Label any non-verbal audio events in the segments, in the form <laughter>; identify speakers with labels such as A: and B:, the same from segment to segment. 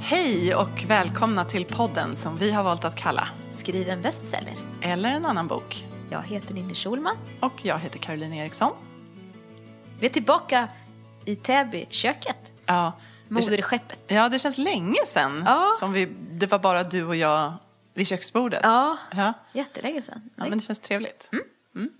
A: Hej och välkomna till podden som vi har valt att kalla
B: Skriv en bestseller.
A: Eller en annan bok.
B: Jag heter Ninni Schulman.
A: Och jag heter Caroline Eriksson.
B: Vi är tillbaka i Täby, köket.
A: Ja, det, kän-
B: Moderskeppet.
A: ja, det känns länge sedan
B: Ja.
A: som vi, det var bara du och jag vid köksbordet.
B: Ja.
A: ja.
B: Jättelänge sedan.
A: Ja, men det känns trevligt. Mm.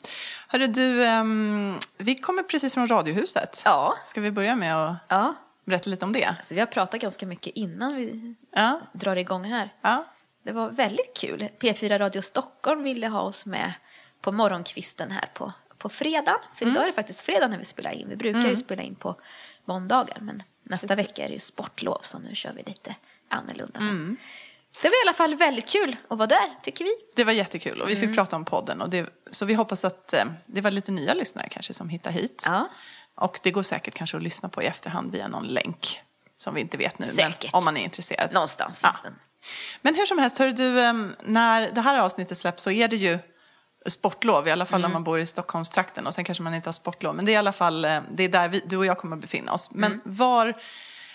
A: Hörru du, ehm, vi kommer precis från Radiohuset.
B: Ja.
A: Ska vi börja med att
B: ja.
A: berätta lite om det?
B: Så vi har pratat ganska mycket innan vi
A: Ja.
B: drar igång här.
A: ja.
B: Det var väldigt kul. P4 Radio Stockholm ville ha oss med på morgonkvisten här på, på fredag. För
A: Mm.
B: idag är det faktiskt fredag när vi spelar in. Vi brukar ju spela in på måndagar. Men nästa vecka är det ju sportlov så nu kör vi lite annorlunda.
A: Mm.
B: Det var i alla fall väldigt kul att vara där, tycker vi.
A: Det var jättekul och vi fick
B: Mm.
A: prata om podden. Och det, så vi hoppas att eh, det var lite nya lyssnare kanske som hittade hit.
B: Ja.
A: Och det går säkert kanske att lyssna på i efterhand via någon länk som vi inte vet nu.
B: Säkert.
A: Men om man är intresserad.
B: Någonstans finns
A: Ja.
B: den.
A: Men hur som helst, hör du, eh, när det här avsnittet släpps så är det ju sportlov, i alla
B: Mm.
A: fall om man bor i Stockholmstrakten och sen kanske man inte har sportlov. Men det är i alla fall, eh, det är där vi, du och jag kommer att befinna oss. Men
B: Mm.
A: var,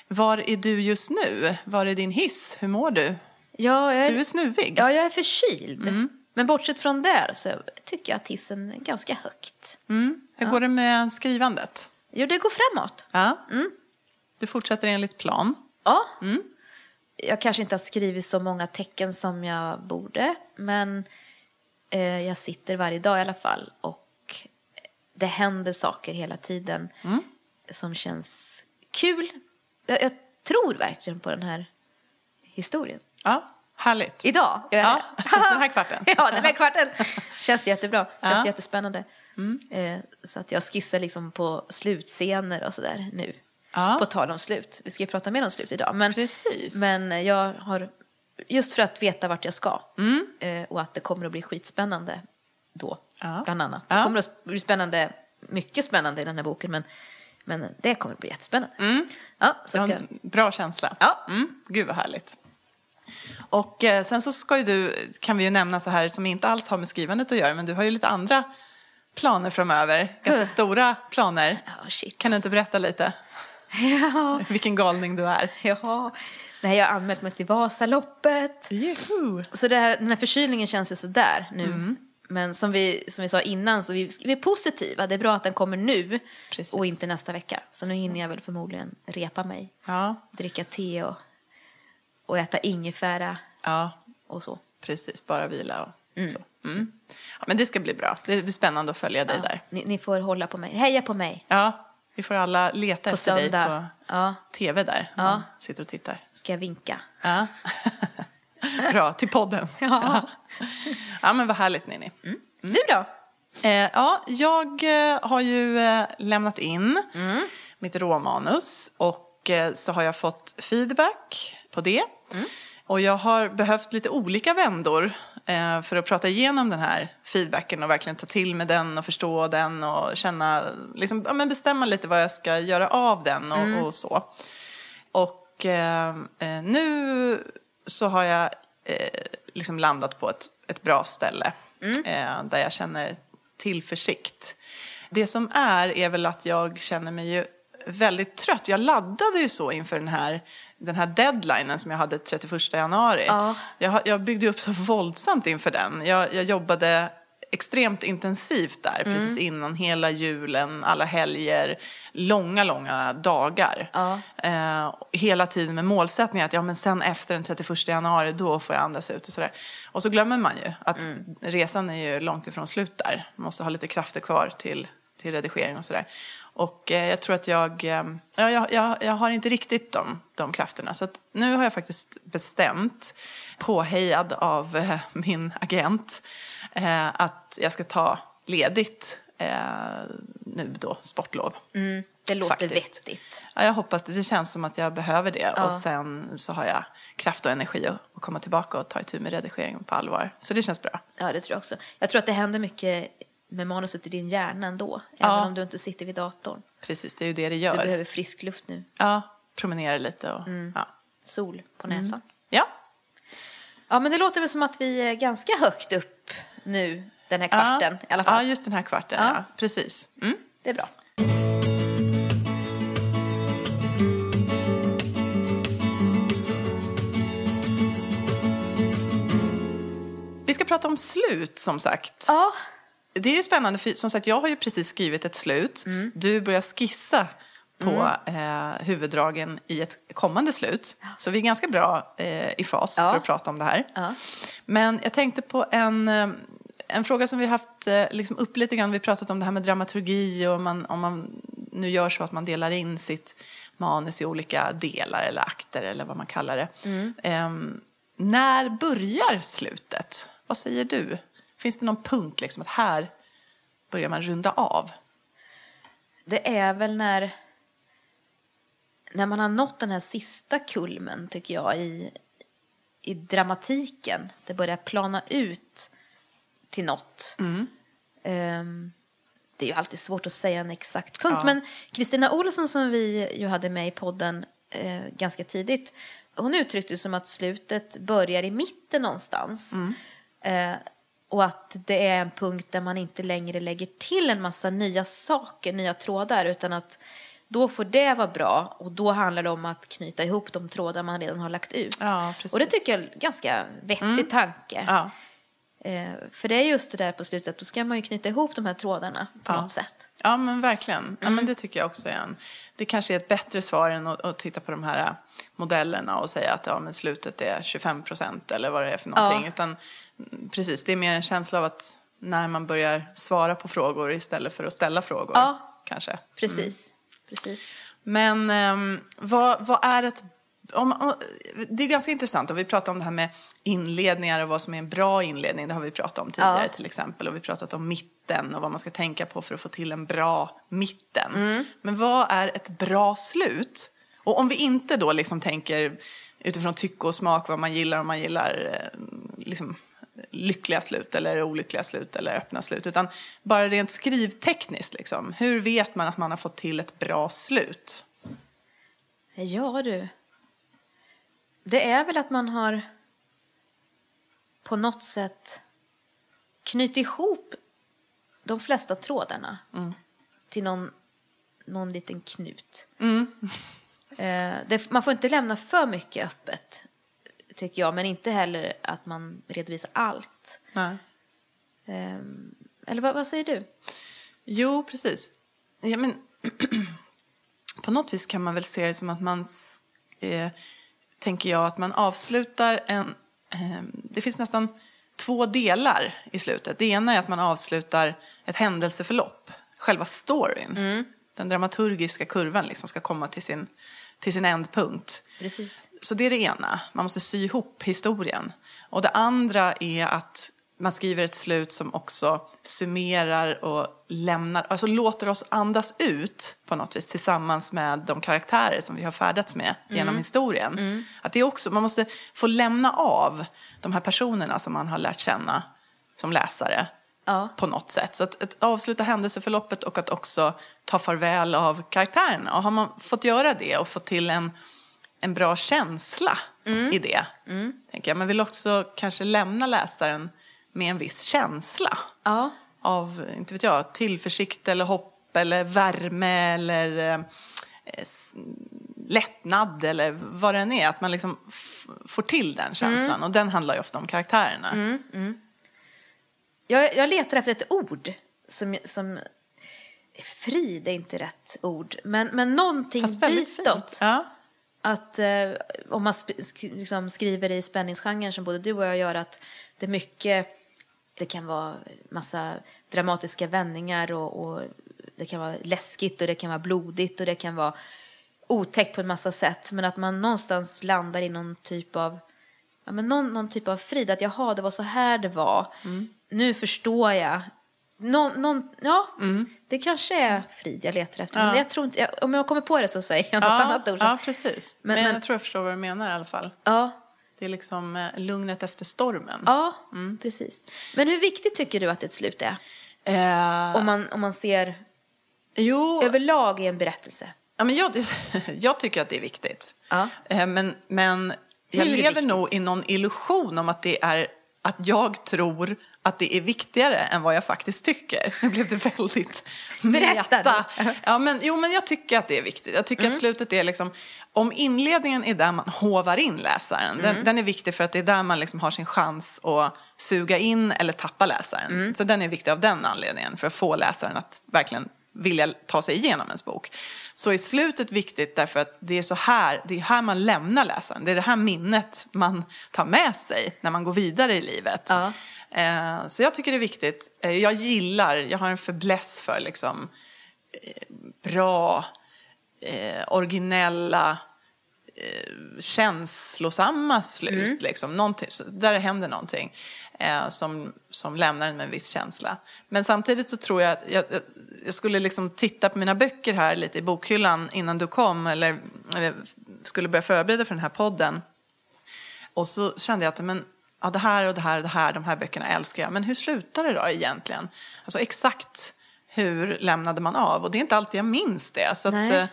A: var är du just nu? Var är din hiss? Hur mår du?
B: Ja, jag är, Mm.
A: Du är snuvig.
B: ja, jag är förkyld. Men bortsett från det så tycker jag att hissen är ganska högt.
A: Mm. Hur går det med skrivandet?
B: Jo, det går framåt.
A: Ja. Mm. Du fortsätter enligt plan.
B: Ja. Mm. Jag kanske inte har skrivit så många tecken som jag borde, men eh, jag sitter varje dag i alla fall och det händer saker hela tiden som känns kul. Jag, jag tror verkligen på den här historien.
A: Ja, härligt.
B: Idag gör jag
A: Ja, <laughs>
B: det.
A: den här kvarten.
B: ja,
A: <laughs>
B: den här kvarten. Känns jättebra. Känns
A: Ja. Mm.
B: jättespännande. Eh, så att jag skissar liksom på slutscener och sådär nu.
A: Ja.
B: På tal om slut. Vi ska ju prata mer om slut idag. Men,
A: Precis.
B: men jag har, just för att veta vart jag ska.
A: Mm.
B: Eh, och att det kommer att bli skitspännande då,
A: Ja.
B: bland annat.
A: Ja.
B: Det kommer att bli spännande, mycket spännande i den här boken. Men, men det kommer att bli jättespännande.
A: Mm.
B: Ja, så
A: Jag
B: att
A: har
B: jag,
A: en bra känsla.
B: Ja.
A: Mm, gud vad härligt. Och eh, sen så ska ju du, kan vi ju nämna så här som inte alls har med skrivandet att göra, men du har ju lite andra planer framöver. Ganska
B: Huh.
A: stora planer.
B: Ja, shit, alltså.
A: kan du inte berätta lite?
B: ja.
A: <laughs> Vilken galning du är.
B: Jaha. Nej, jag har anmält mig till Vasaloppet.
A: Juhu.
B: Så det här, den här förkylningen känns ju sådär nu.
A: Mm.
B: Men som vi, som vi sa innan, så vi, vi är positiva. Det är bra att den kommer nu
A: Precis.
B: och inte nästa vecka. Så nu hinner jag väl förmodligen repa mig,
A: Ja,
B: dricka te och, och äta ingefära
A: ja,
B: och så.
A: precis. Bara vila och så. Mm. Ja, men det ska bli bra. Det blir spännande att följa dig där.
B: Ni, ni får hålla på mig. Heja på mig!
A: Ja, vi får alla leta
B: På
A: efter dig på
B: söndag ja,
A: tv där. när
B: Ja.
A: Man sitter och tittar.
B: ska jag vinka.
A: Ja. <laughs> Bra, till podden.
B: Ja.
A: ja, men vad härligt Ninni. Mm.
B: Du då?
A: Eh, ja, jag eh, har ju eh, lämnat in mitt råmanus och eh, så har jag fått feedback på det. Och jag har behövt lite olika vändor eh, för att prata igenom den här feedbacken och verkligen ta till mig den och förstå den och känna, liksom, ja, men bestämma lite vad jag ska göra av den och, och så. Och eh, eh, nu så har jag eh, liksom landat på ett, ett bra ställe eh, där jag känner tillförsikt. Det som är, är väl att jag känner mig ju väldigt trött. Jag laddade ju så inför den här, den här deadlinen som jag hade 31 januari.
B: Ja.
A: Jag, har- jag byggde upp så våldsamt inför den. Jag, jag jobbade extremt intensivt där precis innan hela julen, alla helger, långa, långa dagar.
B: Ja.
A: Eh, hela tiden med målsättningen att ja, men sen efter den 31 januari då får jag andas ut och sådär. Och så glömmer man ju att resan är ju långt ifrån slut där. Man måste ha lite krafter kvar till, till redigering och sådär. Och eh, jag tror att jag, eh, ja, jag, jag, jag har inte riktigt de, de krafterna. Så att nu har jag faktiskt bestämt, påhejad av eh, min agent, eh, att jag ska ta ledigt eh, nu då, sportlov.
B: Mm, det låter
A: Faktiskt.
B: vettigt.
A: Ja, jag hoppas det. Det känns som att jag behöver det.
B: Ja.
A: Och sen så har jag kraft och energi att att komma tillbaka och ta itu med redigeringen på allvar. Så det känns bra.
B: Ja, det tror jag också. Jag tror att det händer mycket med manuset i din hjärna ändå, även om du inte sitter vid datorn.
A: Precis, det är ju det det
B: Du
A: gör.
B: behöver Mm. frisk luft nu.
A: Ja, promenera lite och... Ja.
B: Sol på näsan.
A: ja.
B: Mm. Ja, men det låter väl som att vi är ganska högt upp nu den här kvarten
A: ja.
B: i alla fall.
A: Ja, just den här kvarten. Ja.
B: Ja.
A: Precis. Mm.
B: Det är bra.
A: prata om slut som sagt.
B: Ja,
A: Det är ju spännande för som sagt jag har ju precis skrivit ett slut.
B: Mm.
A: Du börjar skissa på eh, huvuddragen i ett kommande slut. Så vi är ganska bra eh, i fas
B: Ja.
A: för att prata om det här.
B: Ja.
A: Men jag tänkte på en, eh, en fråga som vi haft eh, liksom upp lite grann. Vi har pratat om det här med dramaturgi och om man, om man nu gör så att man delar in sitt manus i olika delar eller akter eller vad man kallar det. Ehm, när börjar slutet? Vad säger du? Finns det någon punkt liksom att här börjar man runda av?
B: det är väl när, när man har nått den här sista kulmen, tycker jag, i, i dramatiken. Det börjar plana ut till något. Ehm, det är ju alltid svårt att säga en exakt punkt,
A: Ja.
B: men Kristina Olsson som vi ju hade med i podden eh, ganska tidigt, hon uttryckte det som att slutet börjar i mitten någonstans. Eh, och att det är en punkt där man inte längre lägger till en massa nya saker, nya trådar, utan att då får det vara bra och då handlar det om att knyta ihop de trådar man redan har lagt ut.
A: Ja, precis. Mm.
B: och det tycker jag är en ganska vettig tanke.
A: Ja.
B: Eh, för det är just det där på slutet, då ska man ju knyta ihop de här trådarna på
A: Ja. Mm.
B: något sätt.
A: Ja, men verkligen. Ja,
B: Mm.
A: men det tycker jag också är en... Det kanske är ett bättre svar än att, att titta på de här ä, modellerna och säga att ja, men slutet är 25 procent eller vad det är för någonting.
B: Ja.
A: Utan mm, precis, det är mer en känsla av att när man börjar svara på frågor istället för att ställa frågor.
B: Ja.
A: Kanske.
B: Precis. Precis.
A: Men ehm, vad, vad är ett... Om, om, det är ganska intressant. Och vi pratar om det här med inledningar och vad som är en bra inledning. Det har vi pratat om tidigare
B: Ja.
A: till exempel. Och vi har pratat om mitten och vad man ska tänka på för att få till en bra mitten. Men vad är ett bra slut? Och om vi inte då liksom tänker utifrån tycke och smak vad man gillar om man gillar eh, liksom, lyckliga slut eller olyckliga slut eller öppna slut. Utan bara rent skrivtekniskt liksom. Hur vet man att man har fått till ett bra slut?
B: Ja, du. Det är väl att man har på något sätt knutit ihop de flesta trådarna till någon, någon liten knut. <laughs> Eh, det, man får inte lämna för mycket öppet, tycker jag, men inte heller att man redovisar allt.
A: Nej.
B: Eh, eller vad, vad säger du?
A: Jo, precis. Ja, men <clears throat> på något vis kan man väl se det som att man, s- eh, tänker jag, att man avslutar en... Eh, det finns nästan två delar i slutet. Det ena är att man avslutar ett händelseförlopp, själva storyn. Den dramaturgiska kurvan liksom ska komma till sin, till sin ändpunkt.
B: Precis.
A: Så det är det ena, man måste sy ihop historien. Och det andra är att man skriver ett slut som också summerar och lämnar, alltså låter oss andas ut på något vis tillsammans med de karaktärer som vi har färdats med genom historien. Att det är också, man måste få lämna av de här personerna som man har lärt känna som läsare
B: Ja.
A: på något sätt. Så att, att avsluta händelseförloppet och att också ta farväl av karaktärerna. Och har man fått göra det och fått till en, en bra känsla
B: Mm.
A: i det, tänker jag. Men vill också kanske lämna läsaren med en viss känsla
B: Ja.
A: av, inte vet jag, tillförsikt eller hopp eller värme eller eh, s- lättnad eller vad det än är. Att man liksom f- får till
B: Mm.
A: den känslan. Och den handlar ju ofta om karaktärerna.
B: Jag, jag letar efter ett ord som... som frid är inte rätt ord, men, men någonting
A: Fast väldigt fint.
B: ditåt.
A: Ja.
B: Att, eh, om man sp- sk- liksom skriver i spänningsgenren som både du och jag gör, att det är mycket... Det kan vara massa dramatiska vändningar och, och det kan vara läskigt och det kan vara blodigt och det kan vara otäckt på en massa sätt. Men att man någonstans landar i någon typ av ja, men någon, någon typ av frid. Att jaha, det var så här det var.
A: Mm.
B: Nu förstår jag. Någon, någon, ja,
A: Mm.
B: det kanske är frid jag letar efter. Men jag tror inte, jag, om jag kommer på det så säger jag något annat ord.
A: Ja, precis. Men,
B: Men- men-
A: jag tror jag förstår vad du menar i alla fall.
B: Ja,
A: Det är liksom eh, lugnet efter stormen.
B: ja precis. Men hur viktigt tycker du att ett slut är?
A: Eh,
B: Om man, om man ser
A: jo,
B: överlag i en berättelse.
A: ja, men jag, <laughs> jag tycker att det är viktigt.
B: Ja.
A: Eh, men men jag
B: Hur
A: lever
B: viktigt?
A: nog i någon illusion om att det är att jag tror att det är viktigare än vad jag faktiskt tycker. Nu blev det väldigt
B: Berätta
A: meta.
B: nu.
A: <laughs> Ja, men, jo, men jag tycker att det är viktigt. Jag tycker att slutet är liksom, om inledningen är där man hovar in läsaren, den, den är viktig för att det är där man liksom har sin chans att suga in eller tappa läsaren. Så den är viktig av den anledningen, för att få läsaren att verkligen vilja ta sig igenom ens bok. Så är slutet viktigt därför att det är så här, det är här man lämnar läsaren. Det är det här minnet man tar med sig när man går vidare i livet.
B: Ja.
A: Eh, Så jag tycker det är viktigt. Eh, Jag gillar, jag har en fäbless för liksom eh, bra, eh, originella, eh, känslosamma slut. Liksom. Någonting, så där det händer någonting eh, som, som lämnar en med en viss känsla. Men samtidigt så tror jag att jag, jag- jag skulle liksom titta på mina böcker här lite i bokhyllan innan du kom eller, eller skulle börja förbereda för den här podden. Och så kände jag att men, ja, det här och det här och det här, de här böckerna älskar jag. Men hur slutar det då egentligen? Alltså exakt hur lämnade man av? Och det är inte alltid jag minns det. Så att,
B: Nej.
A: eh,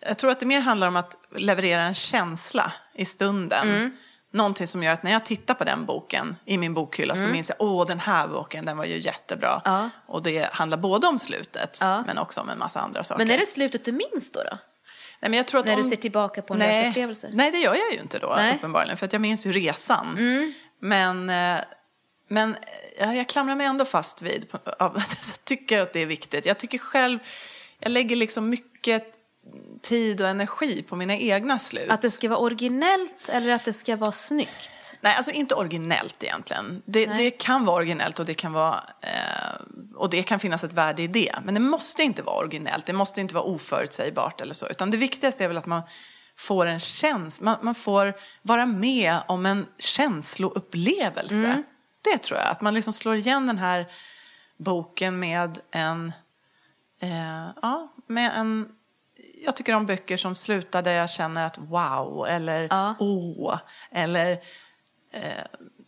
A: jag tror att det mer handlar om att leverera en känsla i stunden.
B: Mm.
A: Någonting som gör att när jag tittar på den boken i min bokhylla så minns jag, åh den här boken den var ju jättebra.
B: Mm. Ja.
A: Och det handlar både om slutet
B: Ja.
A: men också om en massa andra saker.
B: Men är det slutet du minns då? då?
A: Nej, men jag tror att
B: När
A: om...
B: du ser tillbaka på en
A: nej,
B: läsupplevelse?
A: nej, det gör jag ju inte då
B: Nej. Mm.
A: uppenbarligen. För att jag minns ju resan. Men, eh, men eh, jag, jag klamrar mig ändå fast vid på- av att jag tycker att det är viktigt. Jag tycker själv, jag lägger liksom mycket tid och energi på mina egna slut.
B: Att det ska vara originellt eller att det ska vara snyggt?
A: Nej, alltså inte originellt egentligen. Det,
B: Nej.
A: det kan vara originellt och det kan, vara, eh, och det kan finnas ett värde i det. Men det måste inte vara originellt, det måste inte vara oförutsägbart eller så. Utan det viktigaste är väl att man får en känsla, man, man får vara med om en känsloupplevelse.
B: Mm.
A: Det tror jag, att man liksom slår igen den här boken med en... Eh, ja, med en jag tycker om böcker som slutar där jag känner att wow, eller
B: Ja.
A: åh, eller eh,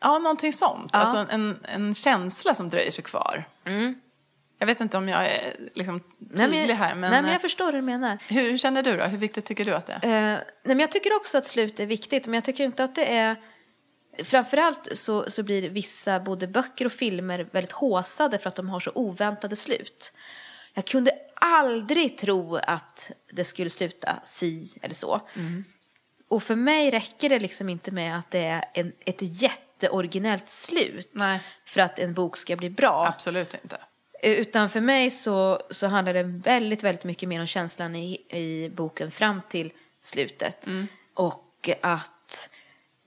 A: ja, någonting sånt. Alltså en, en känsla som dröjer sig kvar. Jag vet inte om jag är liksom
B: Mm. Nej,
A: tydlig
B: men jag-
A: här, men,
B: Nej, men jag förstår hur du menar.
A: eh, hur, hur känner du då? Hur viktigt tycker du att det är?
B: Eh, nej, men jag tycker också att slut är viktigt, men jag tycker inte att det är... Framförallt så, så blir vissa, både böcker och filmer, väldigt håsade för att de har så oväntade slut. Jag kunde aldrig tro att det skulle sluta si eller så. Och för mig räcker det liksom inte med att det är en, ett jätteoriginellt slut
A: Nej.
B: för att en bok ska bli bra.
A: Absolut inte.
B: Eh, Utan för mig så, så handlar det väldigt, väldigt mycket mer om känslan i, i boken fram till slutet.
A: Mm.
B: Och att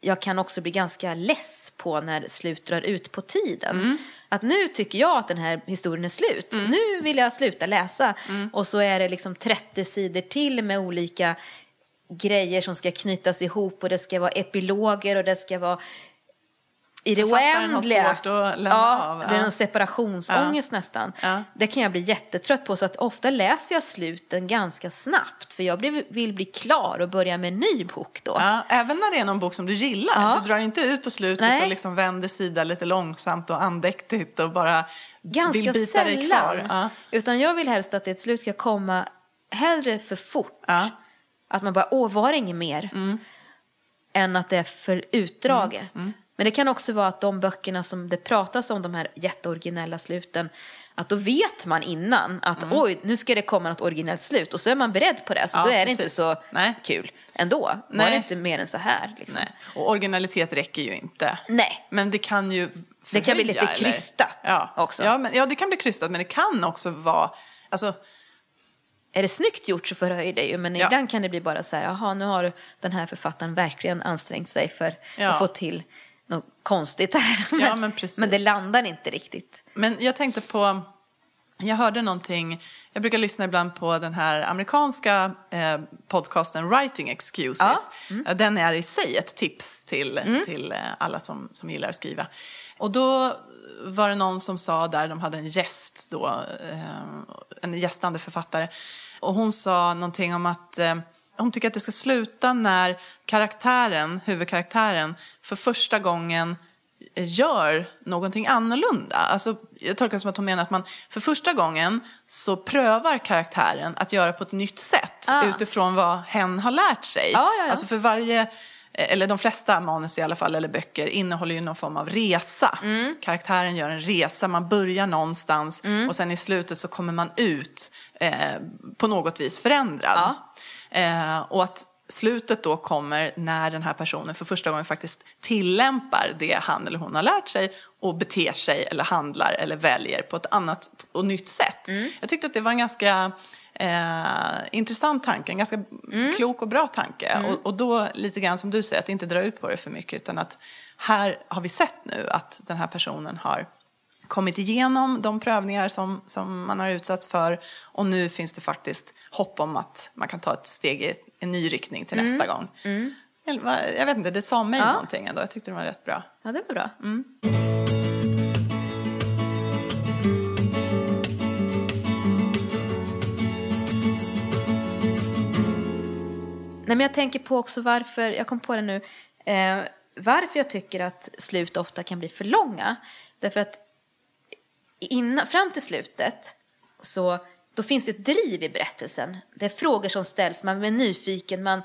B: jag kan också bli ganska less på när slut drar ut på tiden.
A: Mm.
B: Att nu tycker jag att den här historien är slut. Nu vill jag sluta läsa.
A: Mm.
B: Och så är det liksom 30 sidor till med olika grejer som ska knytas ihop och det ska vara epiloger och det ska vara i det
A: Författaren har
B: oändliga.
A: svårt att lämna
B: ja,
A: av, ja.
B: Det är en separationsångest nästan.
A: Ja.
B: Det kan jag bli jättetrött på. Så att ofta läser jag sluten ganska snabbt. För jag blir, vill bli klar och börja med en ny bok då.
A: Ja, även när det är någon bok som du gillar.
B: Ja.
A: Du drar inte ut på slutet
B: Nej.
A: och liksom vänder sida lite långsamt och andäktigt och bara
B: Ganska
A: vill bita dig
B: sällan.
A: kvar. Ja.
B: Utan jag vill helst att ett slut ska komma hellre för fort.
A: Ja. Mm.
B: Att man bara, åh, var det inget mer? Än att det är för utdraget. Men det kan också vara att de böckerna som det pratas om, de här jätteoriginella sluten, att då vet man innan att oj, nu ska det komma något originellt slut. Och så är man beredd på det, så
A: Mm. Ja,
B: då är det
A: precis.
B: inte så
A: Nej.
B: kul ändå. Var
A: Nej.
B: det inte mer än så här? Liksom.
A: Nej. Och originalitet räcker ju inte.
B: Nej.
A: Men det kan ju
B: Det kan bli
A: förhöja,
B: lite
A: eller?
B: krystat
A: ja.
B: också.
A: Ja, men, ja, det kan bli krystat, men det kan också vara... Alltså,
B: är det snyggt gjort så förhöjer det ju, men
A: Ja.
B: ibland kan det bli bara så här, jaha, nu har den här författaren verkligen ansträngt sig för
A: Ja.
B: att få till något konstigt här.
A: Ja, men precis.
B: det landar inte riktigt.
A: men jag tänkte på... Jag hörde någonting... Jag brukar lyssna ibland på den här amerikanska eh, podcasten Writing Excuses.
B: Ja.
A: Ja, Den är i sig ett tips till, till eh, alla som, som gillar att skriva. Och då var det någon som sa där, de hade en gäst då, eh, en gästande författare. Och hon sa någonting om att eh, hon tycker att det ska sluta när karaktären, huvudkaraktären, för första gången eh, gör någonting annorlunda. Alltså, jag tolkar det som att hon menar att man för första gången så prövar karaktären att göra på ett nytt sätt
B: Ah.
A: utifrån vad hen har lärt sig.
B: Ja, ja, ja.
A: Alltså för varje eh, eller de flesta manus i alla fall, eller böcker, innehåller ju någon form av resa.
B: Mm.
A: Karaktären gör en resa, man börjar någonstans och sen i slutet så kommer man ut eh, på något vis förändrad. Eh, och att slutet då kommer när den här personen för första gången faktiskt tillämpar det han eller hon har lärt sig och beter sig eller handlar eller väljer på ett annat och nytt sätt.
B: Mm.
A: Jag tyckte att det var en ganska eh, intressant tanke, en ganska klok och bra tanke. Och, och då lite grann som du säger, att inte dra ut på det för mycket utan att här har vi sett nu att den här personen har kommit igenom de prövningar som, som man har utsatts för och nu finns det faktiskt hopp om att man kan ta ett steg i en ny riktning till nästa gång. Eller vad- Jag vet inte, det sa mig
B: Ja.
A: någonting ändå. Jag tyckte det var rätt bra.
B: Ja, det var bra.
A: Mm.
B: Nej, men jag tänker på också varför, jag kom på det nu, eh, varför jag tycker att slut ofta kan bli för långa. Därför att innan, fram till slutet så då finns det ett driv i berättelsen. Det är frågor som ställs, man är nyfiken, man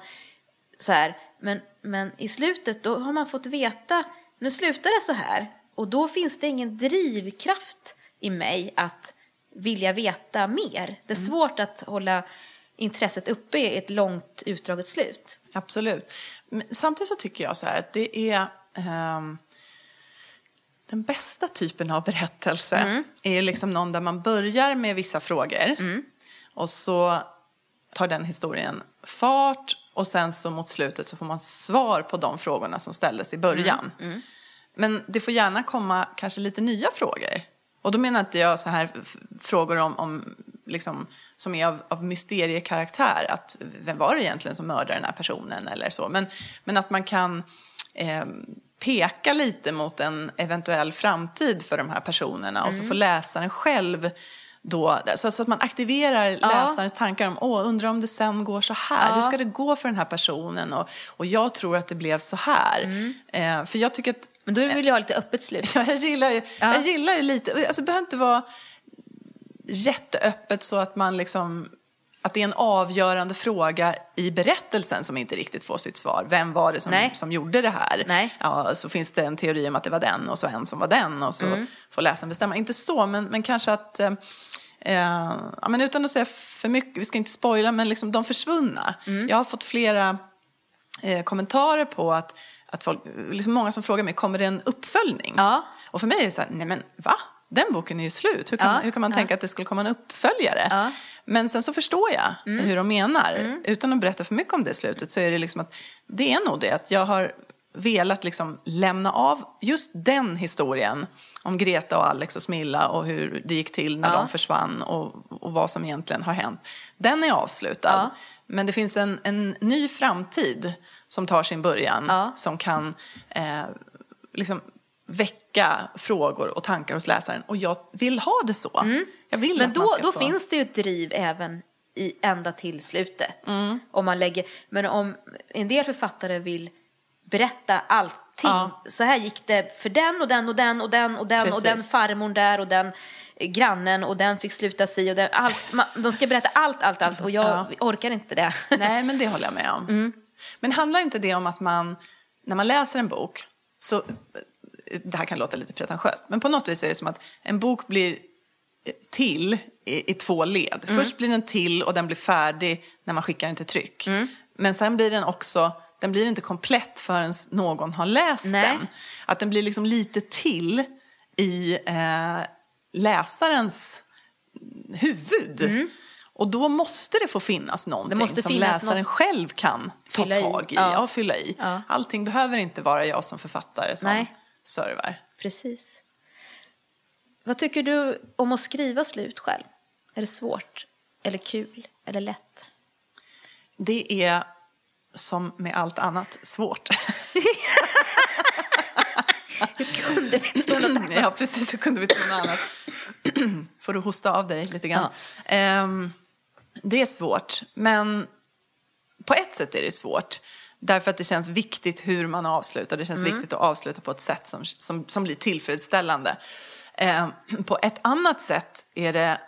B: så här. Men, men i slutet då har man fått veta, nu slutar det så här. Och då finns det ingen drivkraft i mig att vilja veta mer. Det är svårt att hålla intresset uppe i ett långt utdraget slut.
A: Absolut. Men samtidigt så tycker jag så här att det är ehm, den bästa typen av berättelse är ju liksom någon där man börjar med vissa frågor och så tar den historien fart och sen så mot slutet så får man svar på de frågorna som ställdes i början. Men det får gärna komma kanske lite nya frågor. Och då menar inte jag så här f- frågor om, om liksom, som är av, av mysteriekaraktär. Att vem var det egentligen som mördade den här personen eller så. Men, men att man kan eh, peka lite mot en eventuell framtid för de här personerna. Och så får läsaren själv då, så, så att man aktiverar läsarens tankar om, åh, undrar om det sen går så här. Hur ska det gå för den här personen? Och, och jag tror att det blev så här. Eh, för jag tycker att
B: Men då vill jag ha lite öppet
A: <laughs>
B: slut.
A: Ja, jag gillar ju,
B: Ja.
A: jag gillar ju lite, alltså det behöver inte vara jätteöppet så att man liksom att det är en avgörande fråga i berättelsen som inte riktigt får sitt svar. Vem var det som,
B: Nej.
A: som gjorde det här?
B: Nej.
A: Ja, så finns det en teori om att det var den och så en som var den och så
B: Mm.
A: får läsaren bestämma. Inte så, men, men kanske att... Eh, eh, ja, men utan att säga för mycket, vi ska inte spoila, men liksom de försvunna.
B: Mm.
A: Jag har fått flera eh, kommentarer på att, att folk, liksom många som frågar mig, kommer det en uppföljning?
B: Ja.
A: Och för mig är det så här, nej men va? Den boken är ju slut. Hur kan,
B: Ja,
A: hur kan man
B: ja.
A: tänka att det skulle komma en uppföljare?
B: Ja. Mm.
A: Men sen så förstår jag hur de menar. Utan att berätta för mycket om det slutet så är det liksom att det är nog det att jag har velat liksom lämna av just den historien om Greta och Alex och Smilla och hur det gick till när
B: Ja.
A: de försvann och, och vad som egentligen har hänt. Den är avslutad.
B: Ja.
A: Men det finns en, en ny framtid som tar sin början
B: Ja.
A: som kan eh, liksom väcka frågor och tankar hos läsaren. Och jag vill ha det så. Jag vill
B: Mm. Men
A: att man
B: då,
A: ska
B: då
A: få...
B: finns det ju ett driv även i ända till slutet.
A: Mm.
B: Om man lägger, men om en del författare vill berätta allting.
A: Ja.
B: Så här gick det för den och den och den och den och den och den
A: Precis.
B: farmor där och den eh, grannen och den fick sluta si och den, allt, man, de ska berätta allt, allt, allt och jag
A: Ja.
B: orkar inte det.
A: <laughs> Nej, men det håller jag med om. Men handlar inte det om att man, när man läser en bok, så, det här kan låta lite pretentiöst, men på något vis är det som att en bok blir eh, till i, i två led. Först blir den till och den blir färdig när man skickar den till tryck. Men sen blir den också, den blir inte komplett förrän någon har läst
B: Nej.
A: den. Att den blir liksom lite till i eh, läsarens huvud. Och då måste det få finnas någonting
B: Mm. måste
A: som
B: finnas
A: läsaren
B: något-
A: själv kan ta
B: Fylla i.
A: tag i.
B: Ja.
A: Ja. fylla i.
B: Ja.
A: Allting behöver inte vara jag som författare som
B: Nej.
A: servar.
B: Precis. Vad tycker du om att skriva slut själv? Är det svårt? Eller kul? Eller lätt?
A: <laughs> Det är som med allt annat svårt.
B: Kunde vi tro något annat?
A: <clears throat> ja, precis. Så kunde vi tro något annat. <clears throat> Får du hosta av dig lite grann. Ehm, det är svårt, men på ett sätt är det svårt. Därför att det känns viktigt hur man avslutar. Det känns viktigt att avsluta på ett sätt som, som, som blir tillfredsställande. Ehm, på ett annat sätt är det...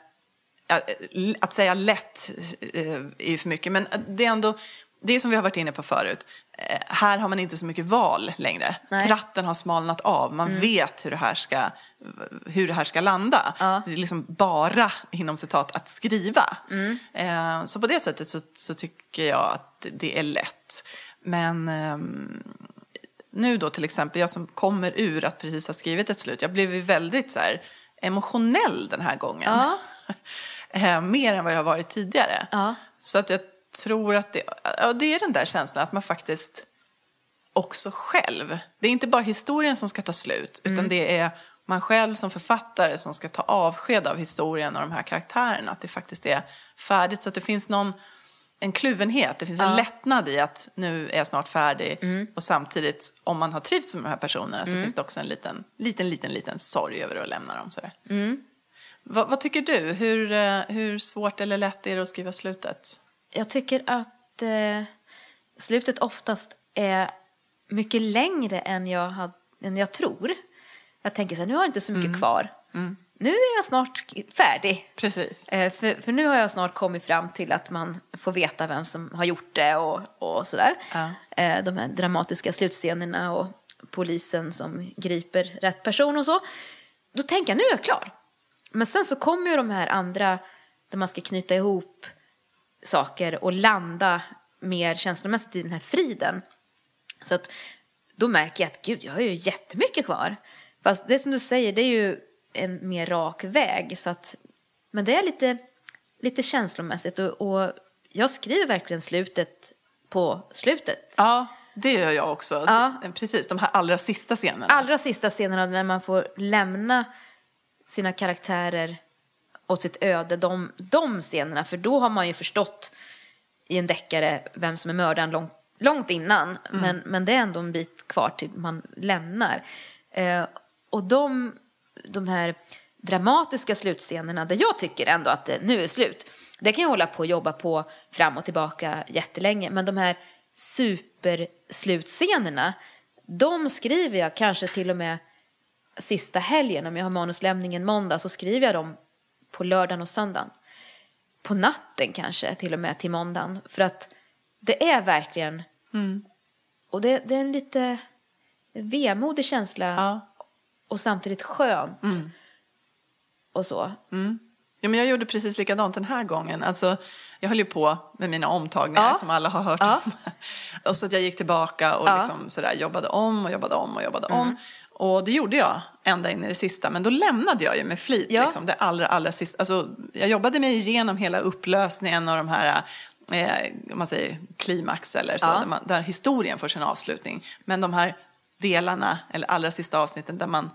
A: eh, ja, Att säga lätt eh, är ju för mycket, men det är ändå... det är som vi har varit inne på förut. Eh, här har man inte så mycket val längre.
B: Nej. Mm.
A: Tratten har smalnat av. Man vet hur det här ska, hur det här ska landa.
B: Ja.
A: Så det är liksom bara, inom citat, att skriva.
B: Mm.
A: Eh, så på det sättet så, så tycker jag att det är lätt. Men ehm, nu då till exempel, jag som kommer ur att precis ha skrivit ett slut. Jag blev ju väldigt så här, emotionell den här gången.
B: Ja.
A: <laughs> Eh, Mer än vad jag har varit tidigare.
B: Ja.
A: Så att jag tror att det, ja, det är den där känslan att man faktiskt också själv. Det är inte bara historien som ska ta slut utan det är man själv som författare som ska ta avsked av historien och de här karaktärerna. Att det faktiskt är färdigt så att det finns någon en kluvenhet, det finns en
B: Ja.
A: lättnad i att nu är jag snart färdig och samtidigt om man har trivts med de här personerna så finns det också en liten, liten, liten, liten sorg över att lämna dem. Sådär. Vad, vad tycker du? Hur, eh, hur svårt eller lätt är det att skriva slutet?
B: Jag tycker att eh, slutet oftast är mycket längre än jag, had, än jag tror. Jag tänker så här, nu har jag inte så mycket kvar. Nu är jag snart k- färdig.
A: Precis.
B: Eh, för, för nu har jag snart kommit fram till att man får veta vem som har gjort det och, och sådär.
A: Ja.
B: Eh, de här dramatiska slutscenerna och polisen som griper rätt person och så. Då tänker jag, nu är jag klar. Men sen så kommer ju de här andra, där man ska knyta ihop saker och landa mer känslomässigt i den här friden. Så att då märker jag att gud, jag har ju jättemycket kvar. Fast det som du säger, det är ju en mer rak väg. Så att, men det är lite, lite känslomässigt och, och jag skriver verkligen slutet på slutet.
A: Ja, det gör jag också.
B: Ja.
A: Det- Precis, de här allra sista scenerna.
B: Allra sista scenerna när man får lämna sina karaktärer åt sitt öde, de, de scenerna, för då har man ju förstått i en deckare vem som är mördaren långt, långt innan, men, men det är ändå en bit kvar till man lämnar. Eh, och de, de här dramatiska slutscenerna, där jag tycker ändå att det nu är slut, det kan jag hålla på och jobba på fram och tillbaka jättelänge, men de här superslutscenerna, de skriver jag kanske till och med sista helgen, om jag har manuslämningen måndag, så skriver jag dem på lördagen och söndagen. På natten kanske, till och med till måndagen. För att det är verkligen... Och det, det är en lite vemodig känsla
A: Ja.
B: och samtidigt skönt. Och så.
A: Ja, men jag gjorde precis likadant den här gången. Alltså, jag höll ju på med mina omtagningar
B: Ja.
A: som alla har hört
B: Ja.
A: om. <laughs> Och så att jag gick tillbaka och
B: Ja. Mm.
A: liksom sådär, jobbade om och jobbade om och jobbade om. Och det gjorde jag ända in i det sista. Men då lämnade jag ju med flit.
B: Ja.
A: Liksom, det allra, allra sista. Alltså, jag jobbade mig igenom hela upplösningen av de här eh, om man säger klimax eller så,
B: Ja.
A: där, man, där historien får sin avslutning. Men de här delarna, eller allra sista avsnitten där man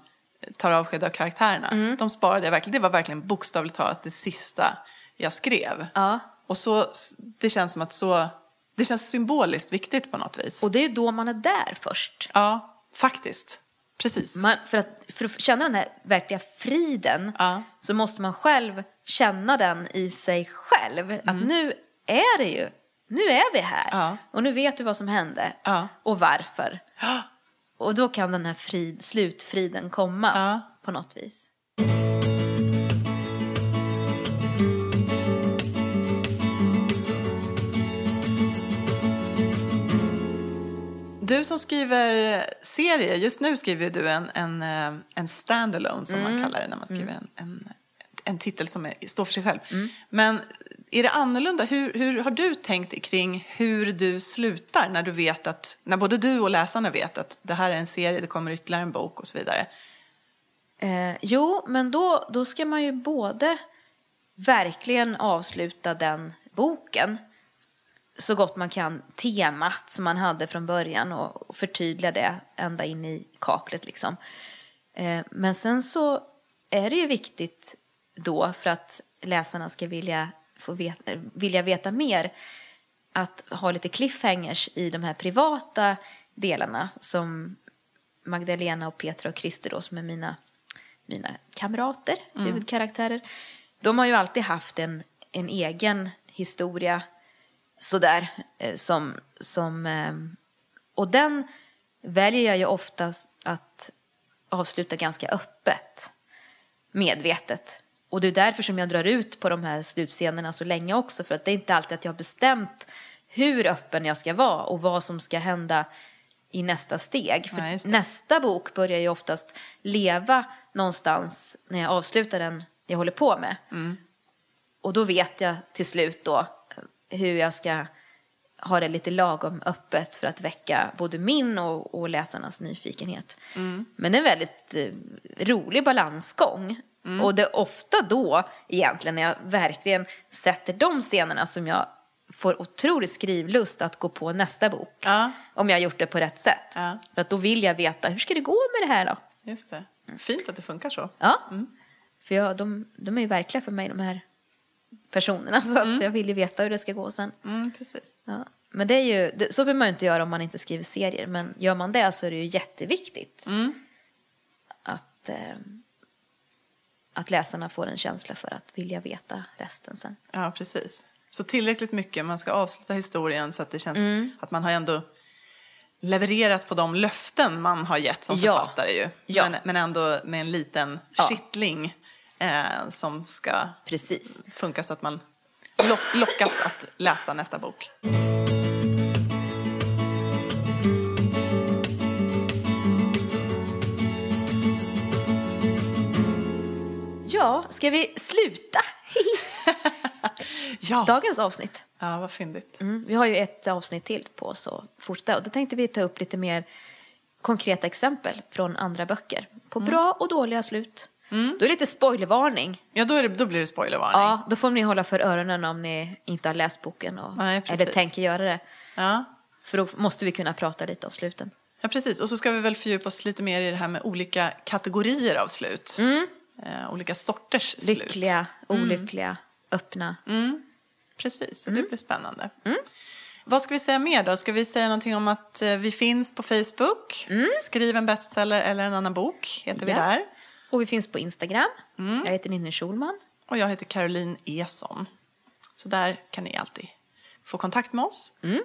A: tar avsked av karaktärerna,
B: Mm.
A: de sparade jag verkligen. Det var verkligen bokstavligt talat det sista jag skrev.
B: Ja.
A: Och så, det känns som att så, det känns symboliskt viktigt på något vis.
B: Och det är ju då man är där först.
A: Ja, faktiskt. Precis.
B: Man, för, att, för att känna den här verkliga friden
A: Ja.
B: så måste man själv känna den i sig själv. Att nu är det ju, nu är vi här.
A: Mm. Ja.
B: Och nu vet du vad som hände
A: Ja.
B: och varför.
A: Ja.
B: Och då kan den här frid, slutfriden komma
A: Ja.
B: på något vis.
A: Du som skriver serier, just nu skriver du en, en, eh, en standalone som man kallar det när man skriver en, en, en titel som är, står för sig själv. Men är det annorlunda? Hur, hur har du tänkt kring hur du slutar när du vet att, när både du och läsarna vet att det här är en serie, det kommer ytterligare en bok och så vidare.
B: Eh, jo, men då, då ska man ju både verkligen avsluta den boken så gott man kan temat som man hade från början och och förtydliga det ända in i kaklet. Liksom. Eh, Men sen så är det ju viktigt då för att läsarna ska vilja, få veta, vilja veta mer att ha lite cliffhangers i de här privata delarna som Magdalena och Petra och Christer då, som är mina, mina kamrater, huvudkaraktärer. De har ju alltid haft en, en egen historia sådär eh, som, som eh, och den väljer jag ju oftast att avsluta ganska öppet medvetet. Och det är därför som jag drar ut på de här slutscenerna så länge också, för att det är inte alltid att jag har bestämt hur öppen jag ska vara och vad som ska hända i nästa steg. För
A: Ja, just det.
B: nästa bok börjar ju oftast leva någonstans när jag avslutar den jag håller på med. Och då vet jag till slut då eh, hur jag ska ha det lite lagom öppet för att väcka både min och, och läsarnas nyfikenhet.
A: Mm.
B: Men det är en väldigt eh, rolig balansgång.
A: Mm.
B: Och det är ofta då egentligen när jag verkligen sätter de scenerna som jag får otrolig skrivlust att gå på nästa bok.
A: Ja.
B: Om jag har gjort det på rätt sätt.
A: Ja.
B: För att då vill jag veta, hur ska det gå med det här då?
A: Just det. Fint att det funkar så.
B: Ja. För jag, de, de är ju verkliga för mig, de här personerna. <laughs> Så att jag vill ju veta hur det ska gå sen.
A: Mm, precis.
B: Ja. Men det är ju, det, så behöver man ju inte göra om man inte skriver serier. Men gör man det så är det ju jätteviktigt att, eh, att läsarna får en känsla för att vilja veta resten sen.
A: Ja, precis. Så tillräckligt mycket. Man ska avsluta historien så att det känns
B: Mm.
A: att man har ändå levererat på de löften man har gett som
B: Ja.
A: författare. Ju.
B: Ja.
A: Men, men ändå med en liten
B: Ja.
A: kittling eh, som ska
B: Precis.
A: funka så att man lock, lockas att läsa nästa bok.
B: Ja, ska vi sluta? <laughs>
A: Ja,
B: Dagens avsnitt.
A: ja vad fyndigt.
B: Mm, vi har ju ett avsnitt till på oss att fortsätta. Och då tänkte vi ta upp lite mer konkreta exempel från andra böcker. På
A: Mm.
B: bra och dåliga slut. Då är det lite spoilervarning.
A: Ja, då, är det, då blir det spoilervarning.
B: Ja, då får ni hålla för öronen om ni inte har läst boken och,
A: Nej, precis.
B: eller tänker göra det.
A: Ja.
B: För då måste vi kunna prata lite om sluten.
A: ja, precis. Och så ska vi väl fördjupa oss lite mer i det här med olika kategorier av slut. Eh, olika sorters slut.
B: Mm.
A: Mm.
B: Lyckliga, olyckliga, öppna.
A: Precis,
B: Mm.
A: så det blir spännande. Vad ska vi säga mer då? Ska vi säga någonting om att eh, vi finns på Facebook? Skriv en bestseller eller en annan bok heter vi
B: Mm. Ja.
A: där. Mm.
B: Och vi finns på Instagram. Jag heter Ninni Schulman.
A: Och jag heter Caroline Eson. Så där kan ni alltid få kontakt med oss.
B: Mm.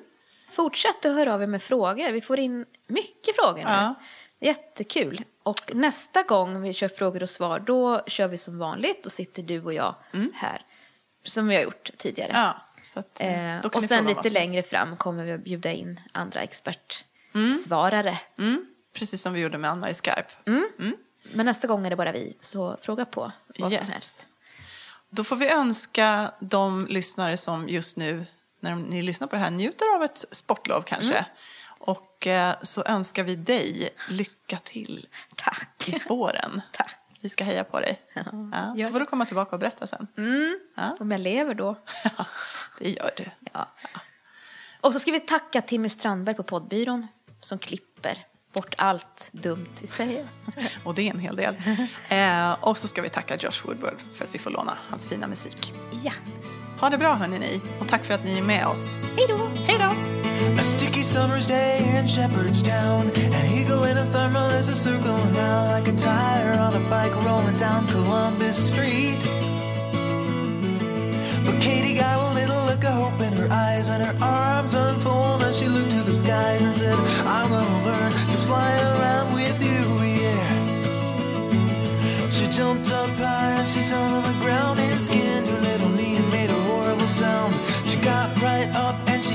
B: Fortsätt att höra av er med frågor. Vi får in mycket frågor nu.
A: Ja.
B: Jättekul. Och nästa gång vi kör frågor och svar, då kör vi som vanligt. Då sitter du och jag här, som vi har gjort tidigare.
A: Mm. Ja, så att, eh,
B: Eh,
A: då kan
B: och
A: ni
B: sen
A: fråga vad
B: lite
A: som helst.
B: längre fram kommer vi att bjuda in andra expertsvarare.
A: Mm. Precis som vi gjorde med Ann-Marie Skarp.
B: Mm. Men nästa gång är det bara vi, så fråga på vad som
A: Yes.
B: helst.
A: Då får vi önska de lyssnare som just nu, när ni lyssnar på det här, njuter av ett sportlov kanske.
B: Mm.
A: Och eh, så önskar vi dig lycka till
B: Tack.
A: i spåren.
B: Tack.
A: Vi ska heja på dig. Ja,
B: gör
A: så får du komma tillbaka och berätta sen. Ja.
B: Om jag lever då.
A: Det gör du.
B: Ja. Och så ska vi tacka Timmy Strandberg på poddbyrån som klipper bort allt dumt vi säger.
A: Och det är en hel del. Eh, och så ska vi tacka Josh Woodward för att vi får låna hans fina musik.
B: Ja,
A: Ha det bra hörni ni och tack för att ni är med oss.
B: hej då!
A: Hej då!
C: A sticky summer's day in Shepherdstown. An eagle in a thermal is a circling round like a tire on a bike rolling down Columbus Street. But Katie got a little look of hope in her eyes, and her arms unfold, and she looked to the skies and said, I'm gonna learn to fly around with you, yeah. She jumped up high and she fell to the ground and skinned her little knee and made a horrible sound. She got right up and she